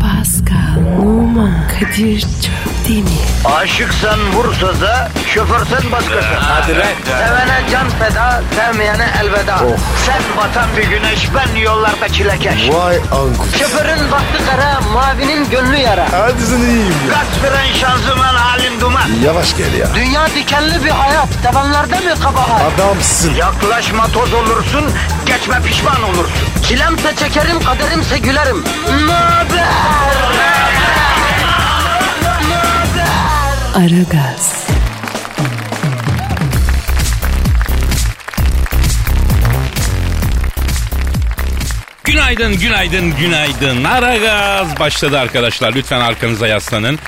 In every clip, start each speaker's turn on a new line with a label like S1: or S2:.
S1: Pascal, Oman, Kadir çok değil mi?
S2: Aşıksan vursa da şoförsen başkasın.
S3: Hadi lan. Oh.
S2: Sevene can feda, sevmeyene elveda. Sen batan bir güneş, ben yollarda çilekeş.
S3: Vay anku.
S2: Şoförün baktı kara, mavinin gönlü yara.
S3: Hadi sen iyiyim ya.
S2: Kasperen şanzıman halin duman.
S3: Yavaş gel ya.
S2: Dünya dikenli bir hayat, sevenlerde mi kabahar?
S3: Adamsın.
S2: Yaklaşma toz olursun, geçme pişman olursun. Çilemse çekerim, kaderimse gülerim. Möber!
S1: Aragaz,
S4: Günaydın, günaydın, günaydın. Aragaz başladı arkadaşlar. Lütfen arkanıza yaslanın.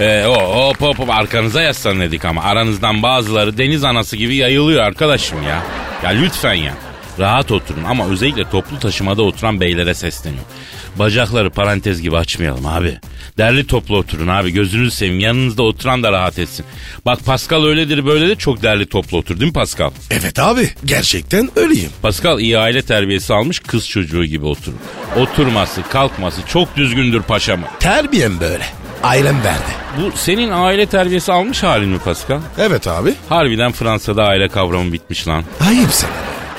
S4: Ee, o, hop hop hop arkanıza yaslanın dedik ama aranızdan bazıları deniz anası gibi yayılıyor arkadaşım ya. Ya lütfen ya. Rahat oturun ama özellikle toplu taşımada oturan beylere sesleniyorum. Bacakları parantez gibi açmayalım abi. Derli toplu oturun abi gözünüzü seveyim yanınızda oturan da rahat etsin. Bak Pascal öyledir böyle de çok derli toplu otur değil mi Pascal?
S3: Evet abi. Gerçekten öyleyim.
S4: Pascal iyi aile terbiyesi almış kız çocuğu gibi oturur. Oturması, kalkması çok düzgündür paşamı.
S3: Terbiyem böyle. Ailem verdi.
S4: Bu senin aile terbiyesi almış halin mi Pascal?
S3: Evet abi.
S4: Harbiden Fransa'da aile kavramı bitmiş lan.
S3: Ayıp sana.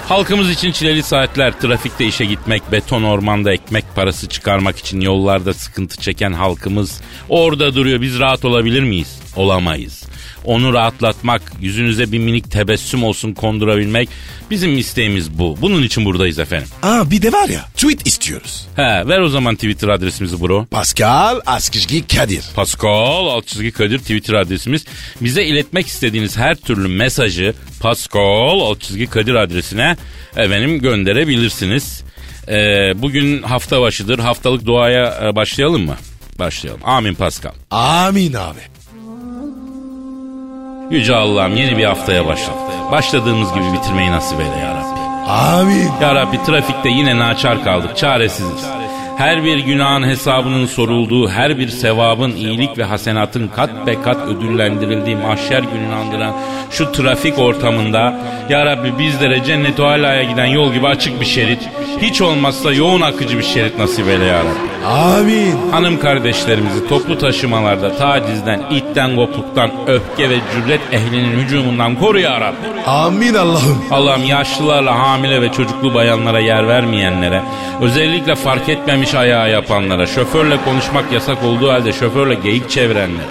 S4: Halkımız için çileli saatler, trafikte işe gitmek, beton ormanda ekmek parası çıkarmak için yollarda sıkıntı çeken halkımız orada duruyor. Biz rahat olabilir miyiz? Olamayız. Onu rahatlatmak, yüzünüze bir minik tebessüm olsun kondurabilmek bizim isteğimiz bu. Bunun için buradayız efendim.
S3: Aa bir de var ya tweet istiyoruz.
S4: He ver o zaman Twitter adresimizi bro.
S3: Pascal Askizgi Kadir.
S4: Pascal alt çizgi Kadir Twitter adresimiz. Bize iletmek istediğiniz her türlü mesajı Pascal alt çizgi Kadir adresine efendim gönderebilirsiniz. Ee, bugün hafta başıdır. Haftalık duaya e, başlayalım mı? Başlayalım. Amin Pascal.
S3: Amin abi.
S4: Yüce Allah'ım yeni bir haftaya başladık. Başladığımız gibi bitirmeyi nasip eyle ya Rabbi.
S3: Amin.
S4: Ya Rabbi trafikte yine naçar kaldık, çaresiziz. Her bir günahın hesabının sorulduğu, her bir sevabın, iyilik ve hasenatın kat be kat ödüllendirildiği mahşer gününü andıran şu trafik ortamında Ya Rabbi bizlere cennet alaya giden yol gibi açık bir şerit, hiç olmazsa yoğun akıcı bir şerit nasip eyle Ya Rabbi.
S3: Amin.
S4: Hanım kardeşlerimizi toplu taşımalarda tacizden, itten, gopluktan, öfke ve cüret ehlinin hücumundan koru Ya Rabbi.
S3: Amin Allah'ım.
S4: Allah'ım yaşlılarla hamile ve çocuklu bayanlara yer vermeyenlere, özellikle fark etmemiş ayağı yapanlara, şoförle konuşmak yasak olduğu halde şoförle geyik çevirenlere,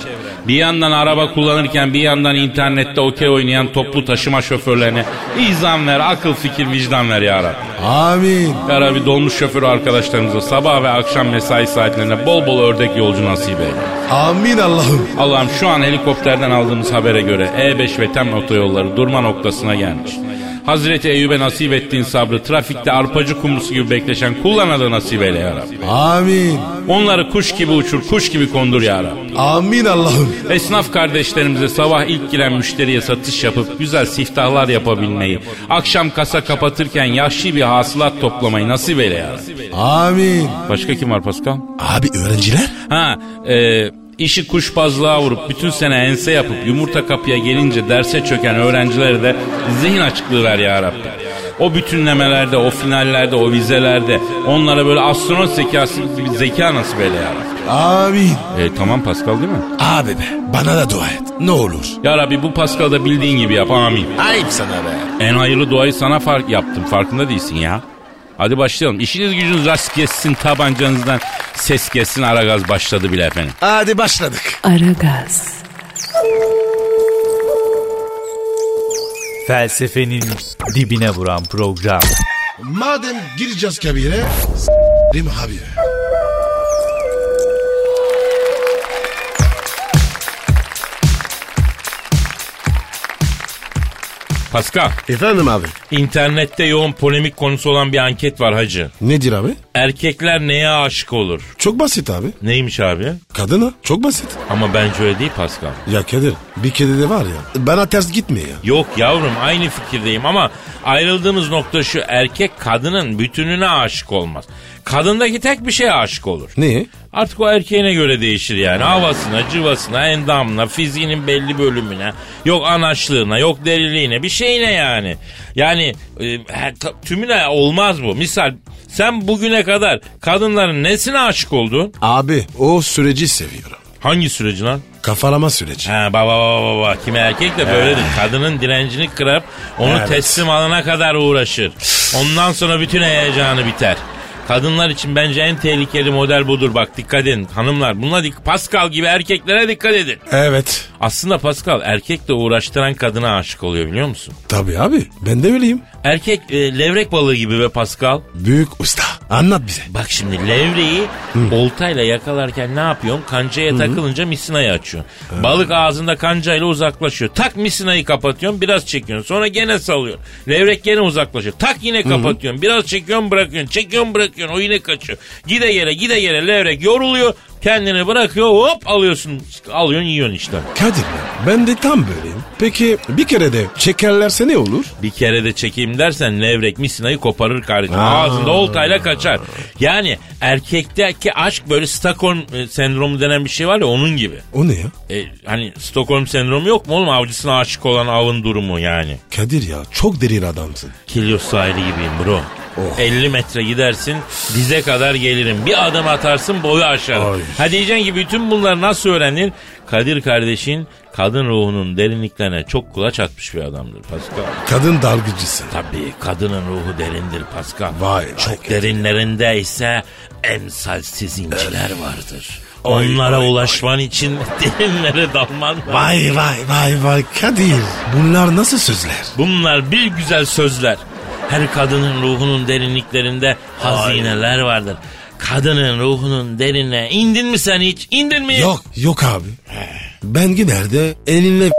S4: bir yandan araba kullanırken bir yandan internette okey oynayan toplu taşıma şoförlerine izan ver, akıl fikir vicdan ver ya Rabbi.
S3: Amin.
S4: Ya Rabbi dolmuş şoförü arkadaşlarımıza sabah ve akşam mesai saatlerine bol bol ördek yolcu nasip eyle.
S3: Amin Allah'ım.
S4: Allah'ım şu an helikopterden aldığımız habere göre E5 ve TEM otoyolları durma noktasına gelmiş. Hazreti Eyüp'e nasip ettiğin sabrı trafikte arpacı kumrusu gibi bekleşen kullana da nasip eyle ya Rabbi.
S3: Amin.
S4: Onları kuş gibi uçur, kuş gibi kondur ya Rabbi.
S3: Amin Allah'ım.
S4: Esnaf kardeşlerimize sabah ilk giren müşteriye satış yapıp güzel siftahlar yapabilmeyi, akşam kasa kapatırken yahşi bir hasılat toplamayı nasip eyle ya Rabbi.
S3: Amin.
S4: Başka kim var Pascal?
S3: Abi öğrenciler?
S4: Ha, e, işi kuşbazlığa vurup bütün sene ense yapıp yumurta kapıya gelince derse çöken öğrencilere de zihin açıklığı ver ya Rabbi. O bütünlemelerde, o finallerde, o vizelerde onlara böyle astronot zekası gibi zeka nasip eyle ya Rabbi.
S3: Amin.
S4: E, tamam Pascal değil mi?
S3: Abi be bana da dua et. Ne olur.
S4: Ya Rabbi bu Pascal da bildiğin gibi yap amin.
S3: Ayıp sana be.
S4: En hayırlı duayı sana fark yaptım farkında değilsin ya. Hadi başlayalım. İşiniz gücünüz rast kessin tabancanızdan ses kessin ara gaz başladı bile efendim.
S3: Hadi başladık.
S1: Aragaz,
S5: Felsefenin dibine vuran program.
S3: Madem gireceğiz kabire, s**rim abi.
S4: Pascal.
S3: Efendim abi.
S4: İnternette yoğun polemik konusu olan bir anket var hacı.
S3: Nedir abi?
S4: Erkekler neye aşık olur?
S3: Çok basit abi.
S4: Neymiş abi?
S3: Kadına çok basit.
S4: Ama bence öyle değil Pascal.
S3: Ya Kadir bir kedi de var ya bana ters gitme ya.
S4: Yok yavrum aynı fikirdeyim ama ayrıldığımız nokta şu erkek kadının bütününe aşık olmaz. Kadındaki tek bir şeye aşık olur.
S3: Ne?
S4: Artık o erkeğine göre değişir yani. Havasına, cıvasına, endamına, fiziğinin belli bölümüne, yok anaçlığına, yok deriliğine, bir şeyine yani. Yani e, he- ta- tümüne olmaz bu. Misal sen bugüne kadar kadınların nesine aşık oldun?
S3: Abi o süreci seviyorum.
S4: Hangi süreci lan?
S3: Kafalama süreci.
S4: Ha baba baba baba. Kimi erkek de böyledir. Kadının direncini kırıp onu
S3: Evet.
S4: teslim alana kadar uğraşır. Ondan sonra bütün heyecanı biter. Kadınlar için bence en tehlikeli model budur. Bak dikkat edin hanımlar. Bununla dik Pascal gibi erkeklere dikkat edin.
S3: Evet.
S4: Aslında Pascal erkekle uğraştıran kadına aşık oluyor biliyor musun?
S3: Tabii abi ben de öyleyim.
S4: Erkek e, levrek balığı gibi ve Pascal.
S3: Büyük usta. Anlat bize.
S4: Bak şimdi levreyi oltayla yakalarken ne yapıyorsun? Kancaya takılınca misinayı açıyorsun. Balık ağzında kancayla uzaklaşıyor. Tak misinayı kapatıyorsun biraz çekiyorsun. Sonra gene salıyorsun. Levrek gene uzaklaşıyor. Tak yine kapatıyorsun. Biraz çekiyorsun bırakıyorsun. Çekiyorsun bırakıyorsun. O yine kaçıyor. Gide yere gide yere levrek yoruluyor. Kendini bırakıyor hop alıyorsun. Alıyorsun yiyorsun işte.
S3: Kadir ben- ben de tam böyleyim. Peki bir kere de çekerlerse ne olur?
S4: Bir kere de çekeyim dersen levrek misinayı koparır kardeşim.
S3: Aa.
S4: Ağzında oltayla kaçar. Yani erkekteki aşk böyle Stockholm e, sendromu denen bir şey var ya onun gibi.
S3: O ne ya?
S4: E, hani Stockholm sendromu yok mu oğlum avcısına aşık olan avın durumu yani.
S3: Kadir ya çok derin adamsın.
S4: Kilyos sahili gibiyim bro.
S3: Oh.
S4: 50 metre gidersin dize kadar gelirim. Bir adım atarsın boyu aşar.
S3: Ay.
S4: Ha diyeceksin ki bütün bunları nasıl öğrendin? Kadir kardeşin kadın ruhunun derinliklerine çok kulaç atmış bir adamdır Pascal.
S3: Kadın dalgıcısın.
S4: Tabii kadının ruhu derindir Pascal.
S3: Vay be.
S4: Çok derinlerinde ise emsalsiz inciler vardır. Onlara ulaşman için derinlere dalman lazım.
S3: Vay vay vay vay Kadir. Bunlar nasıl sözler?
S4: Bunlar bir güzel sözler. Her kadının ruhunun derinliklerinde hazineler vardır. Kadının ruhunun derine indin mi sen hiç? İndin mi?
S3: Yok yok abi. Ben giderdi elinle...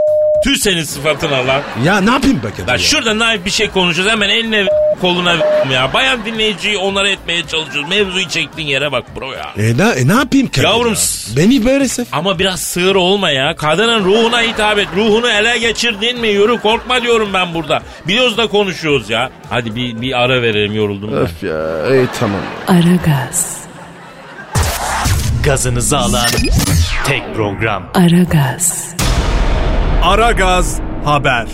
S4: Tüh senin sıfatına lan.
S3: Ya ne yapayım be Kadir
S4: Ya
S3: ya?
S4: şurada naif bir şey konuşuyoruz hemen eline v- koluna v- ya. Bayan dinleyiciyi onlara etmeye çalışıyoruz. Mevzuyu çektiğin yere bak bro ya.
S3: E, na- e, ne yapayım Kadir
S4: Yavrum,
S3: ya?
S4: s-
S3: Beni böyle sev.
S4: Ama biraz sığır olma ya. Kadının ruhuna hitap et. Ruhunu ele geçirdin mi yürü korkma diyorum ben burada. Biliyoruz da konuşuyoruz ya. Hadi bir, bir ara verelim yoruldum ben.
S1: Aragaz,
S5: Gazınızı alan tek program.
S1: Aragaz,
S5: Ara Gaz Haber.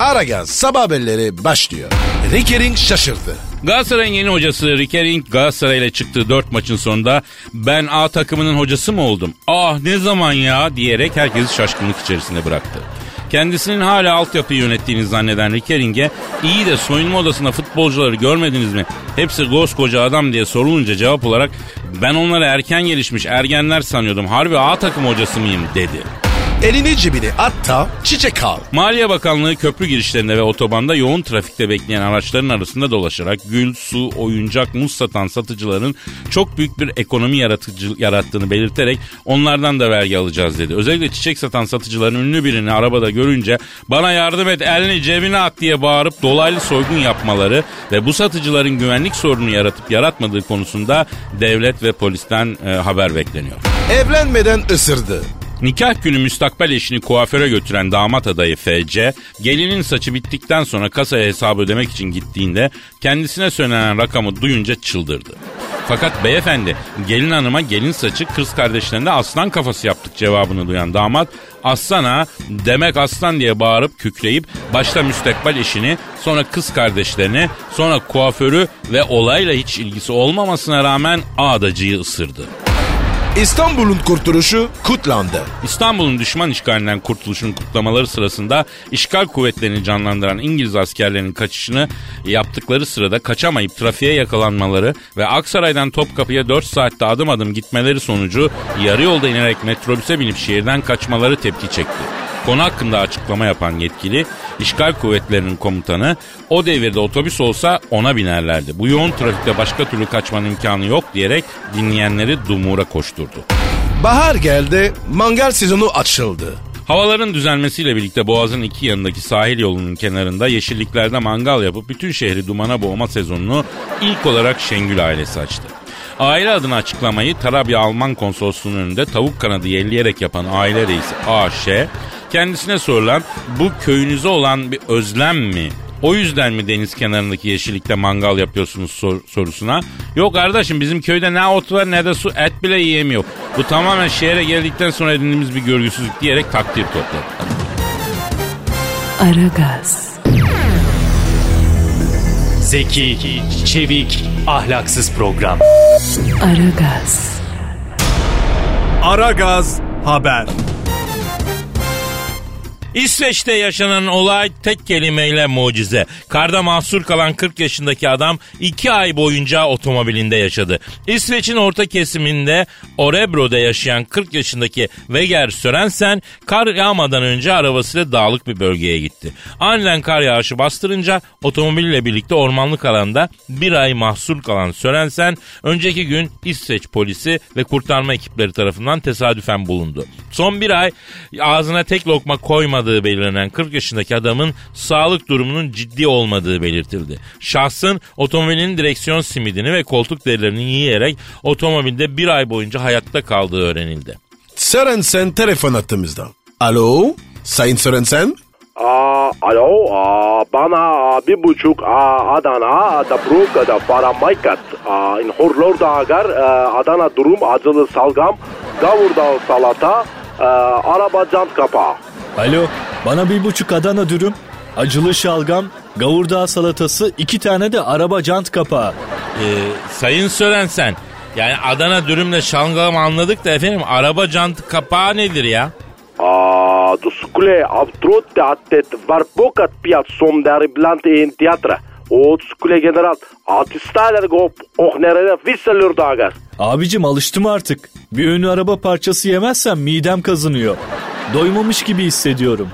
S3: Aragaz sabah haberleri başlıyor. Rickering şaşırdı.
S4: Galatasaray'ın yeni hocası Rikering Galatasaray ile çıktığı 4 maçın sonunda ben A takımının hocası mı oldum? Ah ne zaman ya diyerek herkesi şaşkınlık içerisinde bıraktı. Kendisinin hala altyapıyı yönettiğini zanneden Rikering'e iyi de soyunma odasında futbolcuları görmediniz mi? Hepsi koskoca adam diye sorulunca cevap olarak ben onları erken gelişmiş ergenler sanıyordum. Harbi A takım hocası mıyım dedi.
S3: Elini cebine atta çiçek al.
S4: Maliye Bakanlığı köprü girişlerinde ve otobanda yoğun trafikte bekleyen araçların arasında dolaşarak gül, su, oyuncak, muz satan satıcıların çok büyük bir ekonomi yaratıcı, yarattığını belirterek onlardan da vergi alacağız dedi. Özellikle çiçek satan satıcıların ünlü birini arabada görünce bana yardım et elini cebine at diye bağırıp dolaylı soygun yapmaları ve bu satıcıların güvenlik sorunu yaratıp yaratmadığı konusunda devlet ve polisten e, haber bekleniyor.
S3: Evlenmeden ısırdı.
S4: Nikah günü müstakbel eşini kuaföre götüren damat adayı FC, gelinin saçı bittikten sonra kasaya hesabı ödemek için gittiğinde kendisine söylenen rakamı duyunca çıldırdı. Fakat beyefendi gelin hanıma gelin saçı kız kardeşlerinde aslan kafası yaptık cevabını duyan damat aslan ha demek aslan diye bağırıp kükreyip başta müstakbel eşini sonra kız kardeşlerini sonra kuaförü ve olayla hiç ilgisi olmamasına rağmen ağdacıyı ısırdı.
S3: İstanbul'un kurtuluşu kutlandı.
S4: İstanbul'un düşman işgalinden kurtuluşun kutlamaları sırasında işgal kuvvetlerini canlandıran İngiliz askerlerinin kaçışını yaptıkları sırada kaçamayıp trafiğe yakalanmaları ve Aksaray'dan Topkapı'ya 4 saatte adım adım gitmeleri sonucu yarı yolda inerek metrobüse binip şehirden kaçmaları tepki çekti. Konu hakkında açıklama yapan yetkili, işgal kuvvetlerinin komutanı o devirde otobüs olsa ona binerlerdi. Bu yoğun trafikte başka türlü kaçmanın imkanı yok diyerek dinleyenleri dumura koşturdu.
S3: Bahar geldi, mangal sezonu açıldı.
S4: Havaların düzelmesiyle birlikte boğazın iki yanındaki sahil yolunun kenarında yeşilliklerde mangal yapıp bütün şehri dumana boğma sezonunu ilk olarak Şengül ailesi açtı. Aile adına açıklamayı Tarabya Alman Konsolosluğu'nun önünde tavuk kanadı yelleyerek yapan aile reisi A.Ş. kendisine sorulan bu köyünüze olan bir özlem mi O yüzden mi deniz kenarındaki yeşillikte mangal yapıyorsunuz sor- sorusuna? Yok kardeşim bizim köyde ne ot var ne de su et bile yiyemiyor. Bu tamamen şehre geldikten sonra edindiğimiz bir görgüsüzlük diyerek takdir topladı.
S1: Aragaz,
S5: Zeki, çevik, ahlaksız program.
S1: Aragaz,
S5: Aragaz haber.
S4: İsveç'te yaşanan olay tek kelimeyle mucize. Karda mahsur kalan 40 yaşındaki adam 2 ay boyunca otomobilinde yaşadı. İsveç'in orta kesiminde Orebro'da yaşayan 40 yaşındaki Veger Sörensen kar yağmadan önce arabasıyla dağlık bir bölgeye gitti. Aniden kar yağışı bastırınca otomobille birlikte ormanlık alanda bir ay mahsur kalan Sörensen önceki gün İsveç polisi ve kurtarma ekipleri tarafından tesadüfen bulundu. Son bir ay ağzına tek lokma koymadığı belirlenen 40 yaşındaki adamın sağlık durumunun ciddi olmadığı belirtildi. Şahsın otomobilin direksiyon simidini ve koltuk derilerini yiyerek otomobilde bir ay boyunca hayatta kaldığı öğrenildi.
S3: Sörensen telefon attığımızda. Alo? Sayın Sörensen?
S6: Aa, alo, aa, bana bir buçuk aa, Adana, da Brugge, da Faramaykat, aa, in horlor da agar, e, Adana durum, acılı salgam, gavurdal salata, e, araba cant kapağı.
S7: Alo, bana bir buçuk Adana dürüm, acılı şalgam, gavurdağ salatası, iki tane de araba jant kapağı.
S4: Ee, Sayın Sörensen yani Adana dürümle şalgam anladık da efendim araba jantı kapağı nedir ya?
S6: Aa, du skule, avtrot de attet, var bokat piyat, som der iblant in tiyatra. O skule general, atistaler gop, oh nerede, visselur da agar.
S7: Abicim alıştım artık. Bir ünlü araba parçası yemezsem midem kazınıyor. Doymamış gibi hissediyorum.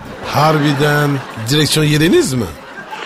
S3: Harbiden direksiyon yediniz mi?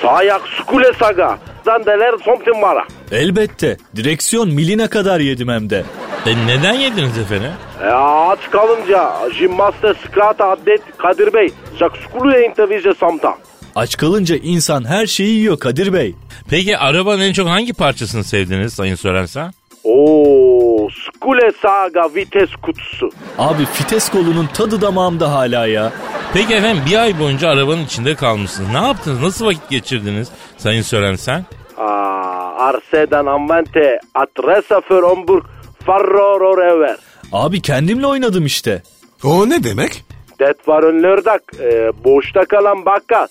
S6: Sayak skule saga, zandeler somtin vara.
S7: Elbette. Direksiyon miline kadar yedim hem de.
S4: E, neden yediniz efendim?
S6: E, aç kalınca jimnaste skrata adet Kadir Bey. Jak skulu intervize samta.
S7: Aç kalınca insan her şeyi yiyor Kadir Bey.
S4: Peki arabanın en çok hangi parçasını sevdiniz Sayın Sörensen?
S6: Oo, skule saga vites kutusu.
S7: Abi fites kolunun tadı damağımda hala ya.
S4: Peki efendim bir ay boyunca arabanın içinde kalmışsınız. Ne yaptınız? Nasıl vakit geçirdiniz Sayın Sörensen?
S6: Aa, arseden amvente adresa för Hamburg farroror ever.
S7: Abi kendimle oynadım işte.
S3: O ne demek?
S6: Det var en lördag. E, boşta kalan bakkal.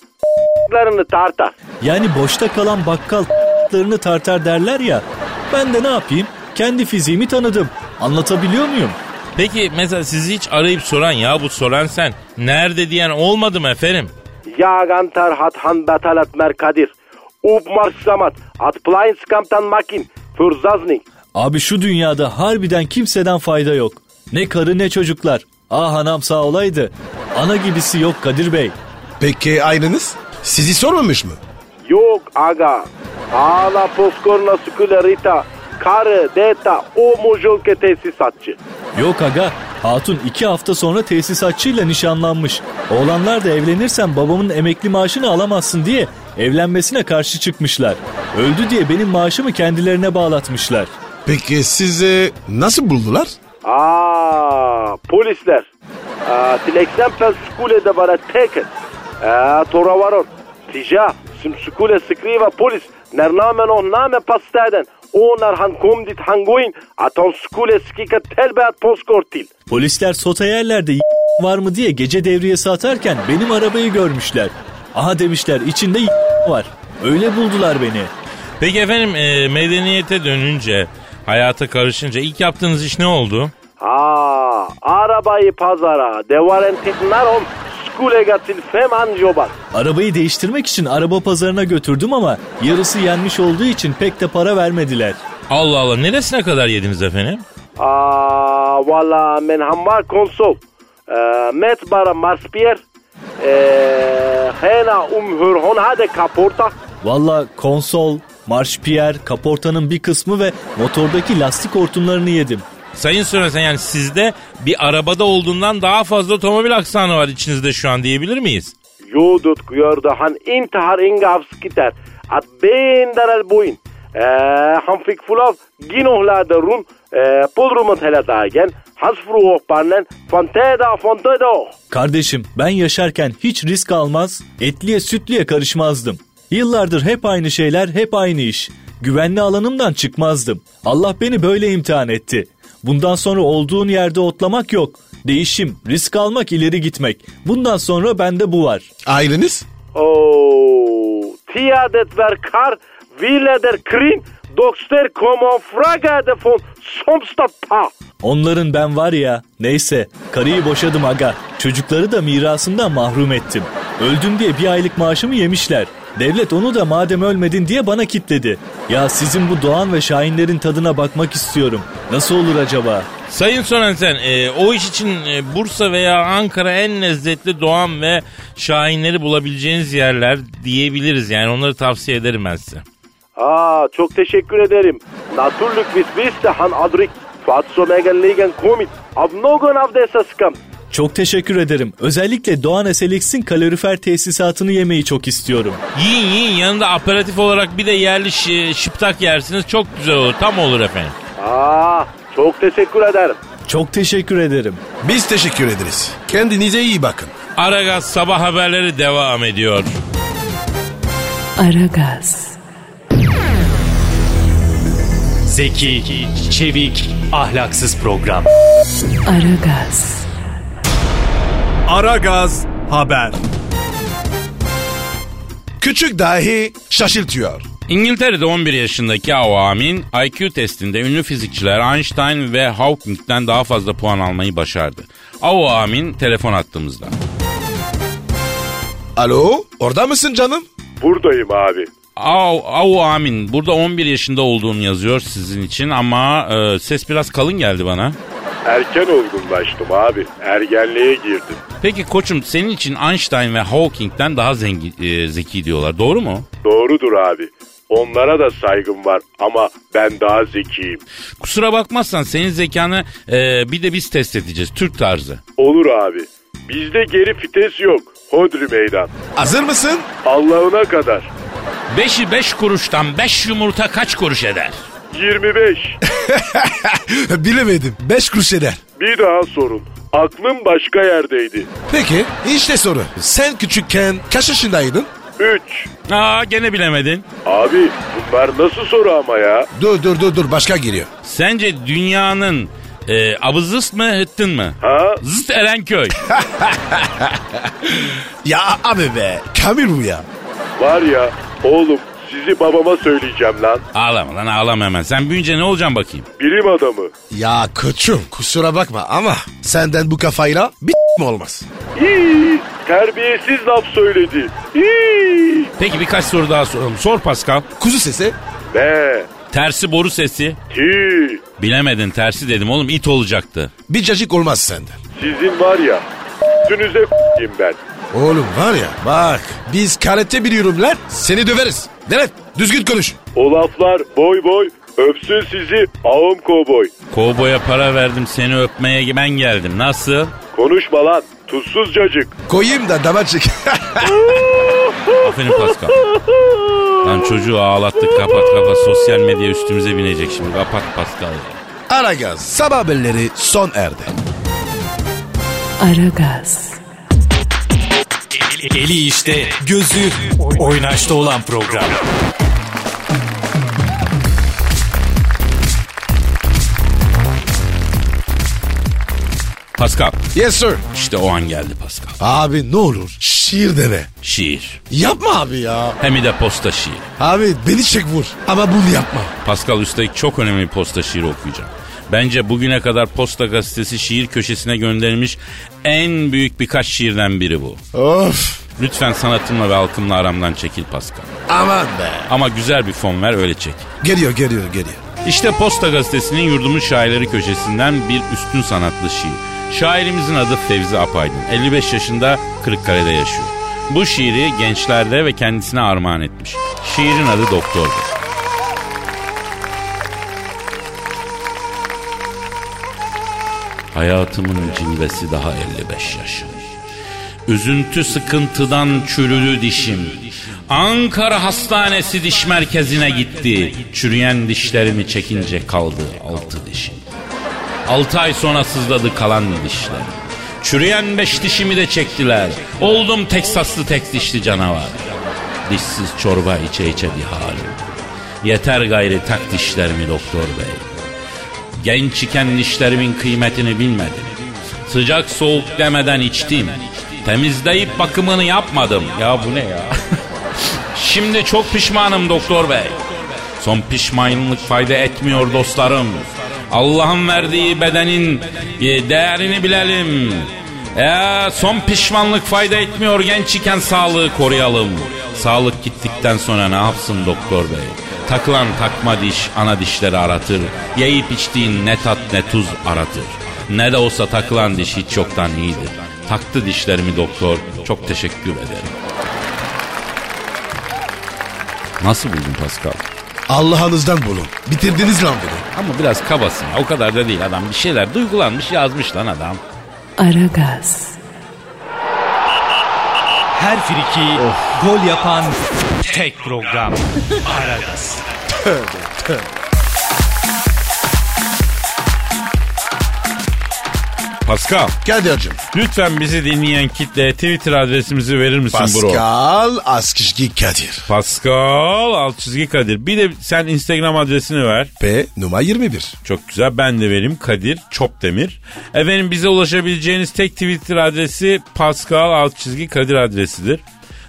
S6: larını tartar.
S7: Yani boşta kalan bakkal larını tartar derler ya. Ben de ne yapayım? Kendi fiziğimi tanıdım. Anlatabiliyor muyum?
S4: Peki mesela sizi hiç arayıp soran ya bu Sörensen nerede diyen olmadı mı efendim?
S6: Yagan tarhat han batalat merkadir. Upmar samat. At plain skamtan makin. Fürzaznik.
S7: Abi şu dünyada harbiden kimseden fayda yok. Ne karı ne çocuklar. Ah anam sağ olaydı. Ana gibisi yok Kadir Bey.
S3: Peki aileniz? Sizi sormamış mı?
S6: Yok aga. Hala poskorna süküle rita. Karı, deta, o mujulke tesisatçı.
S7: Yok aga. Hatun iki hafta sonra tesisatçıyla nişanlanmış. Oğlanlar da evlenirsen babamın emekli maaşını alamazsın diye evlenmesine karşı çıkmışlar. Öldü diye benim maaşımı kendilerine bağlatmışlar.
S3: Peki sizi nasıl buldular?
S6: Aa, polisler. Aa, til exempel skule de bara teket. Aa, tora varor. Tija, sim skule skriva polis. Ner namen och namen pastäden. Och när han kom dit han gå in att han skulle skicka tillbaka postkort till.
S7: Polisler sotayerlerde y- var mı diye gece devriyesi atarken benim arabayı görmüşler. Aha demişler içinde y- var. Öyle buldular beni.
S4: Peki efendim e, medeniyete dönünce, hayata karışınca ilk yaptığınız iş ne oldu?
S6: Aa, arabayı pazara. Det var en tittnarom. Skule gatil fem anjobar.
S7: Arabayı değiştirmek için araba pazarına götürdüm ama yarısı yenmiş olduğu için pek de para vermediler.
S4: Allah Allah neresine kadar yediniz efendim?
S6: Aa, valla men hammar konsol. Ee, met bara marspier. Ee, hena umhur hon hade kaporta.
S7: Valla konsol, marşpiyer, kaportanın bir kısmı ve motordaki lastik hortumlarını yedim.
S4: Sayın Sörensen yani sizde bir arabada olduğundan daha fazla otomobil aksanı var içinizde şu an diyebilir miyiz?
S6: Yudut gördü han intihar inga avskiter. Att benderal boyun. Ee, han fick full av ginohlade rum. Ee, podrumet hela dagen. Hans fru hopparen. Fanteda fanteda.
S7: Kardeşim ben yaşarken hiç risk almaz, etliye sütlüye karışmazdım. Yıllardır hep aynı şeyler, hep aynı iş. Güvenli alanımdan çıkmazdım. Allah beni böyle imtihan etti. Bundan sonra olduğun yerde otlamak yok. Değişim, risk almak, ileri gitmek. Bundan sonra bende bu var.
S3: Aileniz?
S6: Oh, tiadet ver kar, vile der krim, dokster komon fraga de fon, somsta pa.
S7: Onların ben var ya, neyse karıyı boşadım aga. Çocukları da mirasından mahrum ettim. Öldüm diye bir aylık maaşımı yemişler. Devlet onu da madem ölmedin diye bana kitledi. Ya sizin bu Doğan ve Şahinlerin tadına bakmak istiyorum. Nasıl olur acaba?
S4: Sayın Sonensen, e, o iş için e, Bursa veya Ankara en lezzetli Doğan ve Şahinleri bulabileceğiniz yerler diyebiliriz. Yani onları tavsiye ederim ben size.
S6: Aa, Ah, çok teşekkür ederim. Naturlük bis bis de han adrik. Fatso megenligen komik. Abnogon avdesas kam.
S7: Çok teşekkür ederim. Özellikle Doğan Eselix'in kalorifer tesisatını yemeyi çok istiyorum.
S4: Yiyin yiyin yanında aperatif olarak bir de yerli şi- şıptak yersiniz. Çok güzel olur. Tam olur efendim.
S6: Aa, Ah, çok teşekkür ederim.
S7: Çok teşekkür ederim.
S3: Biz teşekkür ederiz. Kendinize iyi bakın.
S4: Aragaz sabah haberleri devam ediyor.
S1: Aragaz,
S5: Zeki, çevik, ahlaksız program.
S1: Aragaz,
S5: Ara Gaz Haber.
S3: Küçük dahi şaşırtıyor.
S4: İngiltere'de 11 yaşındaki Awamin IQ testinde ünlü fizikçiler Einstein ve Hawking'den daha fazla puan almayı başardı. Awamin telefon attığımızda.
S3: Alo, orada mısın canım?
S6: Buradayım abi.
S4: Av, av amin. Burada 11 yaşında olduğum yazıyor sizin için ama e, ses biraz kalın geldi bana.
S6: Erken olgunlaştım abi. Ergenliğe girdim.
S4: Peki koçum senin için Einstein ve Hawking'den daha zengin, e, zeki diyorlar. Doğru mu?
S6: Doğrudur abi. Onlara da saygım var ama ben daha zekiyim.
S4: Kusura bakmazsan senin zekanı e, bir de biz test edeceğiz. Türk tarzı.
S6: Olur abi. Bizde geri fites yok. Hodri meydan.
S3: Hazır mısın?
S6: Allah'ına kadar.
S4: Beşi beş kuruştan beş yumurta kaç kuruş eder?
S6: 25.
S3: Bilemedim. Beş kuruş eder.
S6: Bir daha sorun. Aklım başka yerdeydi.
S3: Peki, işte soru. Sen küçükken kaç yaşındaydın?
S6: 3.
S4: Aa gene bilemedin.
S6: Abi bunlar nasıl soru ama ya?
S3: Dur dur dur dur başka giriyor.
S4: Sence dünyanın e, abızıst mı hıttın mı?
S6: Ha?
S4: Zıt Erenköy.
S3: Ya abi be. Kamil bu ya.
S6: Var ya oğlum sizi babama söyleyeceğim lan.
S4: ağlama lan ağlama hemen. Sen büyünce ne olacaksın bakayım?
S6: Bilim adamı.
S3: Ya koçum kusura bakma ama senden bu kafayla bir mi olmaz?
S6: İyi, terbiyesiz laf söyledi. İyi.
S4: Peki birkaç soru daha soralım. Sor Pascal.
S3: Kuzu sesi.
S6: Be.
S4: Tersi boru sesi.
S6: Ti.
S4: Bilemedin tersi dedim oğlum it olacaktı.
S3: Bir cacık olmaz senden.
S6: Sizin var ya. Üstünüze k***yim ben.
S3: Oğlum var ya bak biz karate biliyorum lan seni döveriz. Demet düzgün konuş.
S6: O laflar boy boy. Öpsün sizi ağım kovboy.
S4: Kovboya para verdim seni öpmeye ben geldim. Nasıl?
S6: Konuşma lan. Tuzsuz cacık.
S3: Koyayım da damacık.
S4: Aferin Pascal. Lan çocuğu ağlattık kapat kapat. Sosyal medya üstümüze binecek şimdi. Kapat Pascal. ya.
S3: Aragaz sabah haberleri son erdi.
S1: Aragaz,
S5: Eli işte, gözü oynaşta olan program.
S4: Pascal.
S3: Yes sir.
S4: İşte o an geldi Pascal.
S3: Abi ne olur şiir deme.
S4: Şiir.
S3: Yapma abi ya.
S4: Hem de posta şiir.
S3: Abi beni çek vur ama bunu yapma.
S4: Pascal üstelik çok önemli bir posta şiiri okuyacağım. Bence bugüne kadar Posta Gazetesi şiir köşesine gönderilmiş en büyük birkaç şiirden biri bu.
S3: Of.
S4: Lütfen sanatımla ve halkımla aramdan çekil Pascal.
S3: Aman be.
S4: Ama güzel bir fon ver öyle çek.
S3: Geliyor geliyor geliyor.
S4: İşte Posta Gazetesi'nin yurdumun şairleri köşesinden bir üstün sanatlı şiir. Şairimizin adı Fevzi Apaydın. 55 yaşında Kırıkkale'de yaşıyor. Bu şiiri gençlerde ve kendisine armağan etmiş. Şiirin adı Doktor'dur. Hayatımın cilvesi daha 55 yaşım. Üzüntü sıkıntıdan çürülü dişim. Ankara Hastanesi Diş Merkezi'ne gitti. Çürüyen dişlerimi çekince kaldı altı dişim. Altı ay sonra sızladı kalan dişler. Çürüyen beş dişimi de çektiler. Oldum Teksaslı tek dişli canavar. dişsiz çorba içe içe bir halim. Yeter gayri tak dişlerimi doktor bey. Genç iken dişlerimin kıymetini bilmedim. Sıcak soğuk demeden içtim. Temizleyip bakımını yapmadım. Ya bu ne ya? Şimdi çok pişmanım doktor bey. Son pişmanlık fayda etmiyor dostlarım. Allah'ın verdiği bedenin e, değerini bilelim. Ee, son pişmanlık fayda etmiyor genç iken sağlığı koruyalım. Sağlık gittikten sonra ne yapsın doktor bey? Takılan takma diş ana dişleri aratır. Yiyip içtiğin ne tat ne tuz aratır. Ne de olsa takılan diş hiç yoktan iyidir. Taktı dişlerimi doktor. Çok teşekkür ederim. Nasıl buldun Pascal?
S3: Allah'ınızdan bulun. Bitirdiniz lan beni.
S4: Ama biraz kabasın ya. O kadar da değil adam. Bir şeyler duygulanmış yazmış lan adam.
S1: Aragaz,
S5: Her friki gol yapan tek program. Aragaz.
S4: Pascal
S3: Kadir'cim.
S4: lütfen bizi dinleyen kitleye Twitter adresimizi verir misin bro?
S3: Pascal Askışki Kadir.
S4: Pascal alt çizgi Kadir. Bir de sen Instagram adresini ver.
S3: P numara 21.
S4: Çok güzel. Ben de vereyim Kadir Çopdemir. Efendim bize ulaşabileceğiniz tek Twitter adresi Pascal alt çizgi Kadir adresidir.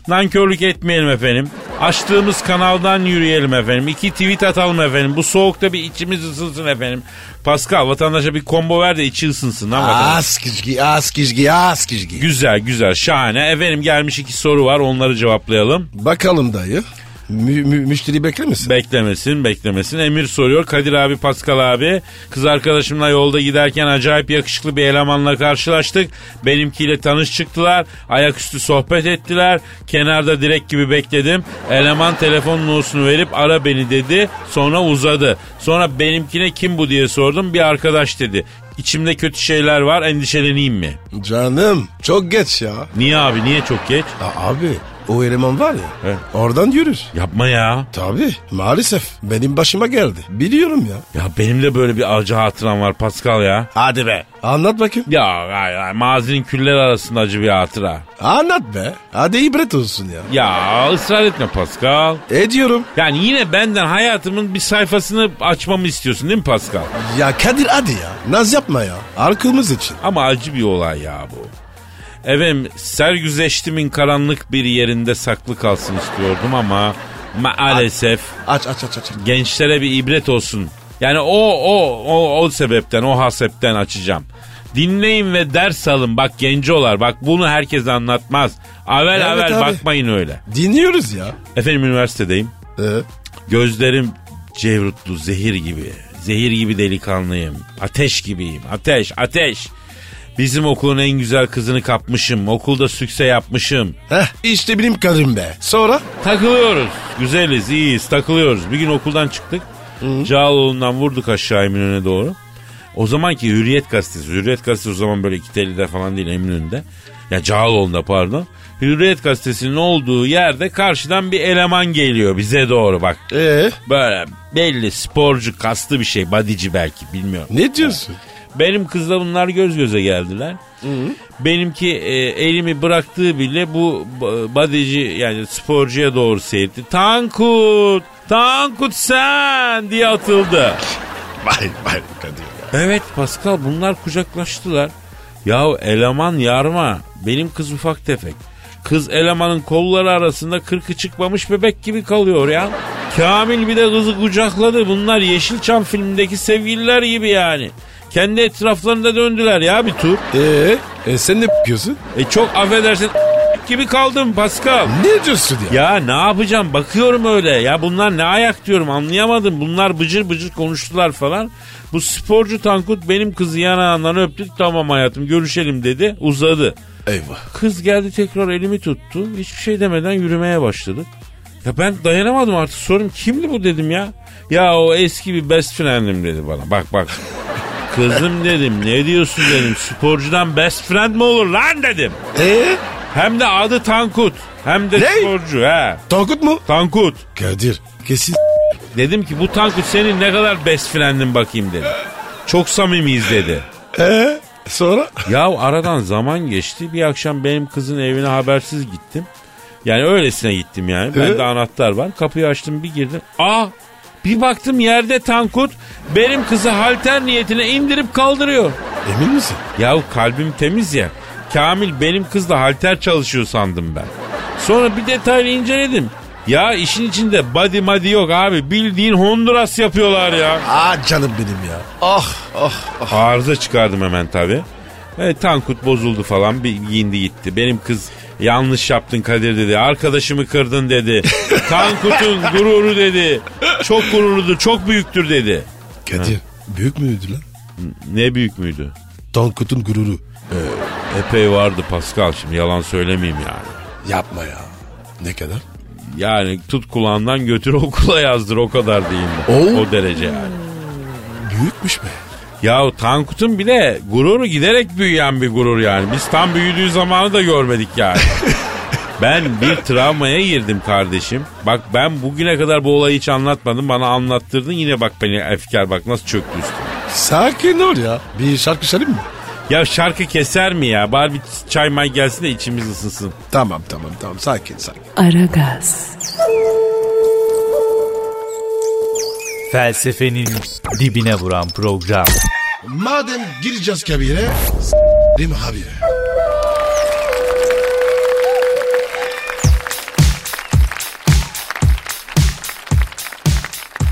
S4: Nankörlük etmeyelim efendim. Açtığımız kanaldan yürüyelim efendim. İki tweet atalım efendim. Bu soğukta bir içimiz ısınsın efendim. Pascal vatandaşa bir combo ver de içi ısınsın lan vatandaş.
S3: Askışki, Askışki, Askışki.
S4: Güzel güzel şahane. Efendim gelmiş iki soru var onları cevaplayalım.
S3: Bakalım dayı. Mü- mü- müşteri bekler misin?
S4: Beklemesin beklemesin. Emir soruyor. Kadir abi Pascal abi. Kız arkadaşımla yolda giderken acayip yakışıklı bir elemanla karşılaştık. Benimkiyle tanış çıktılar. Ayaküstü sohbet ettiler. Kenarda direk gibi bekledim. Eleman telefon numarasını verip ara beni dedi. Sonra uzadı. Sonra benimkine kim bu diye sordum. Bir arkadaş dedi. İçimde kötü şeyler var endişeleneyim mi?
S3: Canım çok geç ya.
S4: Niye abi niye çok geç?
S3: A- abi o eleman var ya
S4: He.
S3: oradan yürür.
S4: Yapma ya.
S3: Tabii maalesef benim başıma geldi. Biliyorum ya.
S4: Ya benim de böyle bir acı hatıram var Pascal ya.
S3: Hadi be. Anlat bakayım.
S4: Ya ay, ay, mazinin küller arasında acı bir hatıra.
S3: Anlat be. Hadi ibret olsun ya.
S4: Ya ısrar etme Pascal.
S3: Ediyorum.
S4: Yani yine benden hayatımın bir sayfasını açmamı istiyorsun değil mi Pascal?
S3: Ya Kadir hadi ya. Naz yapma ya. Arkamız için.
S4: Ama acı bir olay ya bu. Efendim sergüzeştimin karanlık bir yerinde saklı kalsın istiyordum ama maalesef
S3: Aç aç aç aç.
S4: gençlere bir ibret olsun. Yani o o o o sebepten o hasepten açacağım. Dinleyin ve ders alın. Bak gencolar bak bunu herkes anlatmaz. Avel
S3: Evet
S4: avel
S3: abi.
S4: bakmayın öyle.
S3: Dinliyoruz ya.
S4: Efendim üniversitedeyim.
S3: Ee,
S4: Gözlerim cevrutlu zehir gibi. Zehir gibi delikanlıyım. Ateş gibiyim. Ateş, ateş. Bizim okulun en güzel kızını kapmışım. Okulda sükse yapmışım.
S3: heh, işte benim Kadir'im be. Sonra?
S4: Takılıyoruz. Güzeliz, iyiyiz, takılıyoruz. Bir gün okuldan çıktık. Cağaloğlu'ndan vurduk aşağı Eminönü'ne doğru. O zamanki Hürriyet Gazetesi. Hürriyet Gazetesi o zaman böyle iki telide falan değil Eminönü'nde. Ya Cağaloğlu'nda pardon. Hürriyet Gazetesi'nin olduğu yerde karşıdan bir eleman geliyor bize doğru bak.
S3: Ee,
S4: Böyle belli sporcu kaslı bir şey bodyci belki bilmiyorum.
S3: ne diyorsun?
S4: Benim kızla bunlar göz göze geldiler. Benimki e, elimi bıraktığı bile bu b- bodyci yani sporcuya doğru seyirtti. Tankut! Tankut sen! diye atıldı.
S3: Vay vay Kadir ya.
S4: Evet Pascal bunlar kucaklaştılar. Yahu eleman yarma. Benim kız ufak tefek. Kız elemanın kolları arasında kırkı çıkmamış bebek gibi kalıyor ya. Kamil bir de kızı kucakladı. Bunlar Yeşilçam filmindeki sevgililer gibi yani. Kendi etraflarında döndüler ya bir tur.
S3: Ee, e, sen ne yapıyorsun?
S4: E çok affedersin gibi kaldım Pascal.
S3: Ne diyorsun ya?
S4: Ya ne yapacağım bakıyorum öyle ya bunlar ne ayak diyorum anlayamadım bunlar bıcır bıcır konuştular falan. Bu sporcu Tankut benim kızı yanağından öptük tamam hayatım görüşelim dedi uzadı.
S3: Eyvah.
S4: Kız geldi tekrar elimi tuttu hiçbir şey demeden yürümeye başladık. Ya ben dayanamadım artık sorum kimdi bu dedim ya. Ya o eski bir best friendim dedi bana bak bak. Kızım dedim ne diyorsun dedim sporcudan best friend mi olur lan dedim.
S3: Ee,
S4: Hem de adı Tankut hem de
S3: Ne?
S4: sporcu he.
S3: Tankut mu?
S4: Tankut.
S3: Kadir kesin
S4: Dedim ki bu Tankut senin ne kadar best friend'in bakayım dedim. Çok samimiyiz dedi.
S3: Ee, sonra?
S4: Ya aradan zaman geçti. Bir akşam benim kızın evine habersiz gittim.
S8: Yani öylesine gittim yani. Bende anahtar var. Kapıyı açtım bir girdim. Aa bir baktım yerde Tankut benim kızı halter niyetine indirip kaldırıyor.
S3: Emin misin?
S8: Yahu kalbim temiz ya. Kamil benim kızla halter çalışıyor sandım ben. Sonra bir detaylı inceledim. Ya işin içinde body madi yok abi. Bildiğin Honduras yapıyorlar ya.
S3: Aa canım benim ya. Ah ah.
S8: Arıza çıkardım hemen tabi. E, tankut bozuldu falan bir giyindi gitti. Benim kız yanlış yaptın Kadir dedi. Arkadaşımı kırdın dedi. Tankut'un gururu dedi. Çok gururudur çok büyüktür dedi.
S3: Kadir büyük müydü lan?
S8: Ne büyük müydü?
S3: Tankut'un gururu.
S8: Epey vardı Pascal şimdi yalan söylemeyeyim yani.
S3: Yapma ya. Ne kadar?
S8: Yani tut kulağından götür okula yazdır o kadar diyeyim.
S3: Oo.
S8: O derece yani.
S3: Büyükmüş be.
S8: Yahu Tankut'un bile gururu giderek büyüyen bir gurur yani. Biz tam büyüdüğü zamanı da görmedik yani. ben bir travmaya girdim kardeşim. Bak ben bugüne kadar bu olayı hiç anlatmadım. Bana anlattırdın yine bak beni efkar bak nasıl çöktü üstüme.
S3: Sakin ol ya. Bir şarkı çalayım mı?
S8: Ya şarkı keser mi ya? Bari bir çay may gelsin de içimiz ısınsın.
S3: Tamam tamam tamam sakin sakin.
S1: Aragaz,
S5: Felsefenin dibine vuran program.
S3: Madem gireceğiz kabire s**rim habire.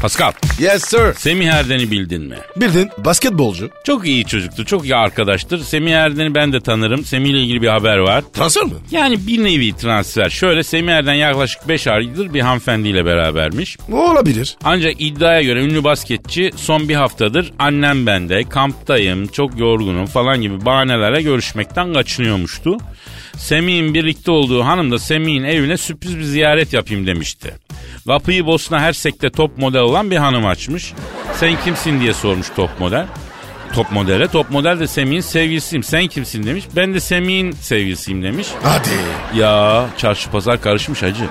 S4: Pascal,
S3: Yes sir.
S4: Semih Erden'i bildin mi?
S3: Bildin basketbolcu.
S4: Çok iyi çocuktu, çok iyi arkadaştır. Semih Erden'i ben de tanırım. Semih ile ilgili bir haber var.
S3: Transfer mi?
S4: Yani bir nevi transfer. Şöyle Semih Erden yaklaşık 5 aydır bir hanımefendiyle berabermiş.
S3: Olabilir.
S4: Ancak iddiaya göre ünlü basketçi son bir haftadır annem bende, kamptayım, çok yorgunum falan gibi bahanelere görüşmekten kaçınıyormuştu. Semih'in birlikte olduğu hanım da Semih'in evine sürpriz bir ziyaret yapayım demişti. Kapıyı Bosna Hersek'te top model olan bir hanım açmış. Sen kimsin diye sormuş top model. Top modele. Top model de Semih'in sevgilisiyim. Sen kimsin demiş. Ben de Semih'in sevgilisiyim demiş.
S3: Hadi.
S4: Ya çarşı pazar karışmış hacı.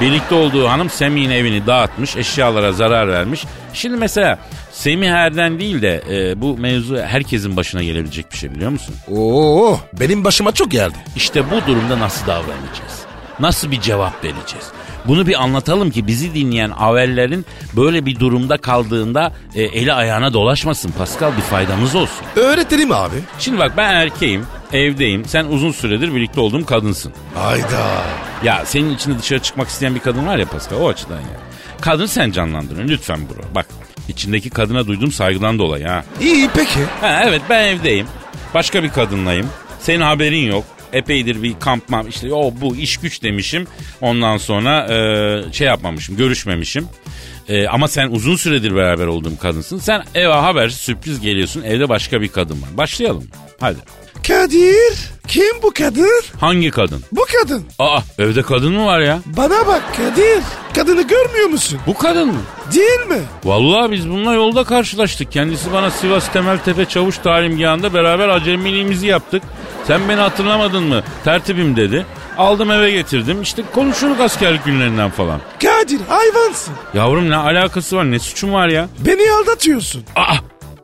S4: Birlikte olduğu hanım Semih'in evini dağıtmış, eşyalara zarar vermiş. Şimdi mesela Semih Erden değil de e, bu mevzu herkesin başına gelebilecek bir şey biliyor musun?
S3: Oo benim başıma çok geldi.
S4: İşte bu durumda nasıl davranacağız? Nasıl bir cevap vereceğiz? Bunu bir anlatalım ki bizi dinleyen avellerin böyle bir durumda kaldığında e, eli ayağına dolaşmasın Pascal bir faydamız olsun.
S3: Öğretelim abi.
S4: Şimdi bak ben erkeğim, evdeyim. Sen uzun süredir birlikte olduğum kadınsın.
S3: Hayda.
S4: Ya senin içinde dışarı çıkmak isteyen bir kadın var ya Pascal o açıdan ya. Kadın sen canlandırın lütfen bro. Bak içindeki kadına duyduğum saygıdan dolayı ha.
S3: İyi peki.
S4: Ha evet ben evdeyim. Başka bir kadınlayım. Senin haberin yok. Epeydir bir kampma işte o bu iş güç demişim. Ondan sonra e, şey yapmamışım görüşmemişim. E, ama sen uzun süredir beraber olduğum kadınsın. Sen eve haber sürpriz geliyorsun. Evde başka bir kadın var. Başlayalım. Hadi.
S3: Kadir. Kim bu kadın?
S4: Hangi kadın?
S3: Bu kadın.
S4: Aa evde kadın mı var ya?
S3: Bana bak Kadir. Kadını görmüyor musun?
S4: Bu kadın mı?
S3: Değil mi?
S4: Vallahi biz bununla yolda karşılaştık. Kendisi bana Sivas Temeltepe Çavuş Talimgahı'nda beraber acemiliğimizi yaptık. Sen beni hatırlamadın mı? Tertibim dedi. Aldım eve getirdim. İşte konuşuruk askerlik günlerinden falan.
S3: Kadir hayvansın.
S4: Yavrum ne alakası var? Ne suçum var ya?
S3: Beni aldatıyorsun.
S4: Aa!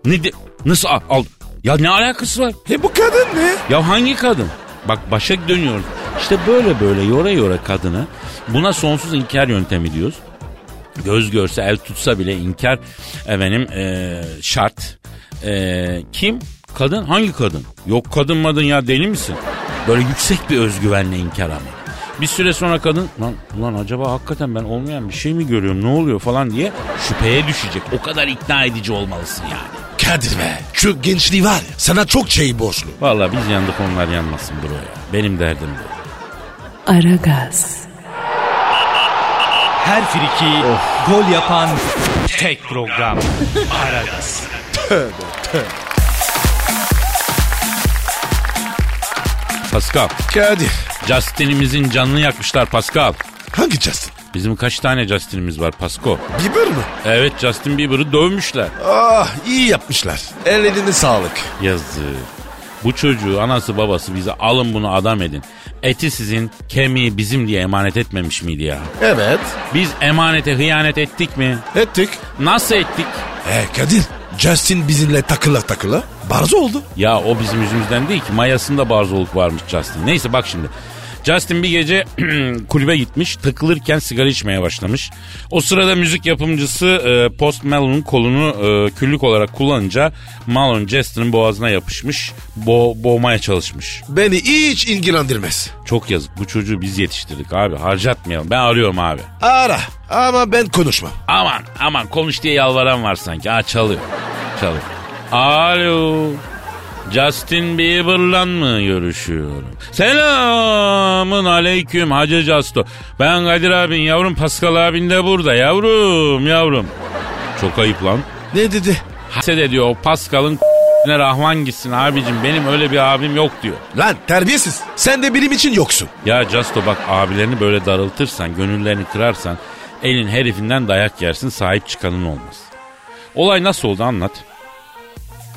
S4: Ne de, Nasıl al, al? Ya ne alakası var?
S3: E bu kadın ne?
S4: Ya hangi kadın? Bak başa dönüyoruz. İşte böyle böyle yora yora kadını buna sonsuz inkar yöntemi diyoruz. Göz görse el tutsa bile inkar efendim eee, şart. Eee, kim? Kadın? Hangi kadın? Yok kadın madın ya deli misin? Böyle yüksek bir özgüvenle inkar ama. Bir süre sonra kadın lan, ulan acaba hakikaten ben olmayan bir şey mi görüyorum ne oluyor falan diye şüpheye düşecek. O kadar ikna edici olmalısın yani.
S3: Kadir be. Şu gençliği var ya sana çok şey borçlu.
S4: Vallahi biz yandık onlar yanmasın bro ya. Benim derdim bu.
S1: Aragaz,
S5: Her friki gol yapan tek program. Aragaz.
S4: Pascal.
S3: Kadir.
S4: Justin'imizin canını yakmışlar Pascal.
S3: Hangi Justin?
S4: Bizim kaç tane Justin'imiz var Pasko?
S3: Bieber mı?
S4: Evet Justin Bieber'ı dövmüşler.
S3: Ah iyi yapmışlar. Ellerine sağlık.
S4: Yazık. Bu çocuğu anası babası bize alın bunu adam edin. Eti sizin kemiği bizim diye emanet etmemiş miydi ya?
S3: Evet.
S4: Biz emanete hıyanet ettik mi?
S3: Ettik.
S4: Nasıl ettik?
S3: E Kadir. Justin bizimle takıla takıla barzo oldu.
S4: Ya o bizim yüzümüzden değil ki mayasında barzoluk varmış Justin. Neyse bak şimdi. Justin bir gece kulübe gitmiş takılırken sigara içmeye başlamış. O sırada müzik yapımcısı e, Post Malone'un kolunu e, küllük olarak kullanınca Malone Justin'in boğazına yapışmış bo- boğmaya çalışmış.
S3: Beni hiç ilgilendirmez.
S4: Çok yazık bu çocuğu biz yetiştirdik abi harcatmayalım ben arıyorum abi.
S3: Ara ama ben konuşmam.
S4: Aman aman konuş diye yalvaran var sanki. Ha çalıyor. Çalıyor. Alo. Justin Bieber'la mı görüşüyorum? Selamın aleyküm Hacı Justo. Ben Kadir abin yavrum Pascal abin de burada yavrum yavrum. Çok ayıp lan.
S3: Ne dedi?
S4: Haset ediyor o Pascal'ın ne rahman gitsin abicim benim öyle bir abim yok diyor.
S3: Lan terbiyesiz. Sen de benim için yoksun.
S4: Ya Justo bak abilerini böyle darıltırsan, gönüllerini kırarsan elin herifinden dayak yersin sahip çıkanın olmaz. Olay nasıl oldu anlat.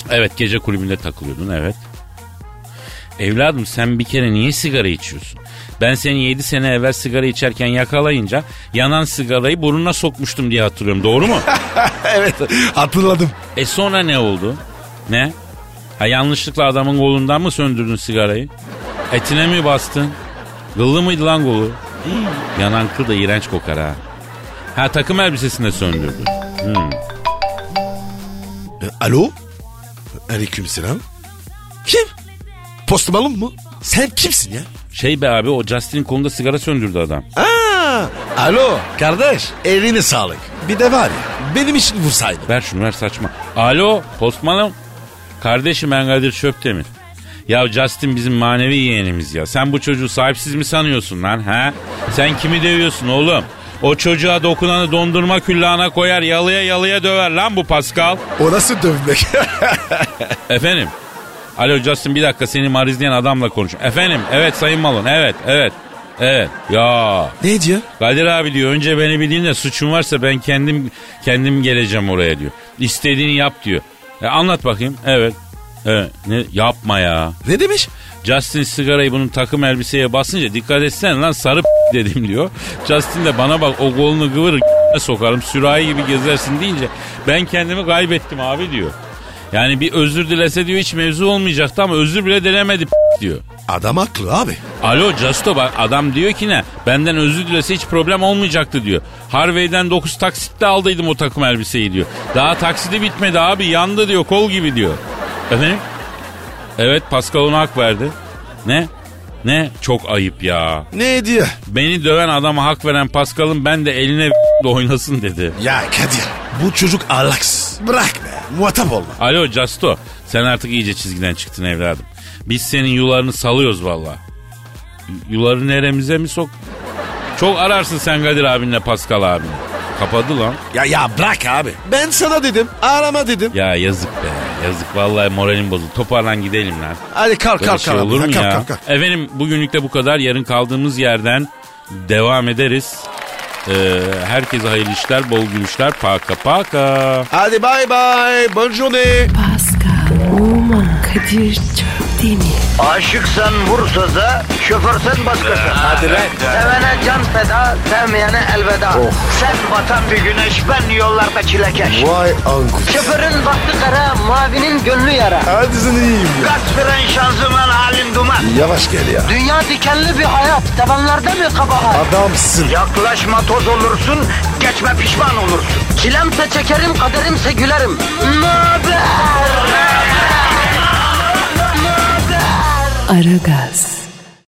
S4: Evet gece kulübünde takılıyordun evet. Evladım sen bir kere niye sigara içiyorsun? Ben seni 7 sene evvel sigara içerken yakalayınca yanan sigarayı burnuna sokmuştum diye hatırlıyorum doğru mu?
S3: evet hatırladım.
S4: e sonra ne oldu? Ne? Ha yanlışlıkla adamın kolundan mı söndürdün sigarayı? Etine mi bastın? Kıllı mıydı lan kolu? Hii, Yanan kıl da iğrenç kokar ha. Ha takım elbisesinde söndürdü.
S3: E, alo? Aleyküm selam. Kim? Post Malone mu? Sen kimsin ya?
S4: Şey be abi o Justin'in kolunda sigara söndürdü adam.
S3: Aa, alo kardeş eline sağlık. Bir de var ya benim için vursaydın.
S4: Ver şunu ver saçma. Alo postmanım. Kardeşim ben Kadir Şöptemir. Ya Justin bizim manevi yeğenimiz ya. Sen bu çocuğu sahipsiz mi sanıyorsun lan ha? Sen kimi dövüyorsun oğlum? O çocuğa dokunanı dondurma küllağına koyar yalıya yalıya döver lan bu Pascal.
S3: O nasıl dövmek?
S4: Efendim? Alo Justin bir dakika seni marizleyen adamla konuş. Efendim? Evet Sayın Malon. Evet, evet. Evet. Ya
S3: ne diyor?
S4: Kadir abi diyor önce beni bir dinle suçum varsa ben kendim kendim geleceğim oraya diyor. İstediğini yap diyor. E, anlat bakayım. Evet. Evet. Ne, yapma ya.
S3: Ne demiş?
S4: Justin sigarayı bunun takım elbiseye basınca dikkat etsene lan sarı dedim diyor. Justin de bana bak o kolunu kıvırır sokarım sürahi gibi gezersin deyince ben kendimi kaybettim abi diyor. Yani bir özür dilese diyor hiç mevzu olmayacaktı ama özür bile dilemedi diyor.
S3: Adam haklı abi.
S4: Alo Justo bak adam diyor ki ne? Benden özür dilese hiç problem olmayacaktı diyor. Harvey'den 9 taksitte aldıydım o takım elbiseyi diyor. Daha taksidi bitmedi abi yandı diyor kol gibi diyor. Efendim? Evet Pascal ona hak verdi. Ne? Ne? Çok ayıp ya.
S3: Ne diyor?
S4: Beni döven adama hak veren Pascal'ın ben de eline de oynasın dedi.
S3: Ya Kadir bu çocuk ahlaksız. Bırak be muhatap olma.
S4: Alo Justo sen artık iyice çizgiden çıktın evladım. Biz senin yularını salıyoruz valla. Yuları neremize mi sok? Çok ararsın sen Kadir abinle Pascal abini. Kapadı lan.
S3: Ya ya bırak abi. Ben sana dedim arama dedim.
S4: Ya yazık be yazık vallahi moralim bozuldu. Toparlan gidelim lan.
S3: Hadi kalk
S4: Böyle
S3: kalk
S4: şey
S3: kalk.
S4: olur mu
S3: kalk,
S4: ya?
S3: kalk, kalk.
S4: Efendim bugünlük de bu kadar. Yarın kaldığımız yerden devam ederiz. Ee, herkese hayırlı işler, bol gülüşler. Paka paka.
S3: Hadi bay bay. Bonne journée.
S1: Pascal, Oman, Kadir çok değil mi?
S2: Aşıksan vursa da, şoförsen başkasın. Hadi Sevene can feda, sevmeyene elveda. Sen batan bir güneş, ben yollarda çilekeş.
S3: Vay anku.
S2: Şoförün baktı kara, mavinin gönlü yara.
S3: Hadi sen iyiyim ya.
S2: Kasperen şanzıman halin duman.
S3: Yavaş gel ya.
S2: Dünya dikenli bir hayat, sevenlerde mi kabahar?
S3: Adamsın.
S2: Yaklaşma toz olursun, geçme pişman olursun. Çilemse çekerim, kaderimse gülerim. Möber!
S1: Aragaz.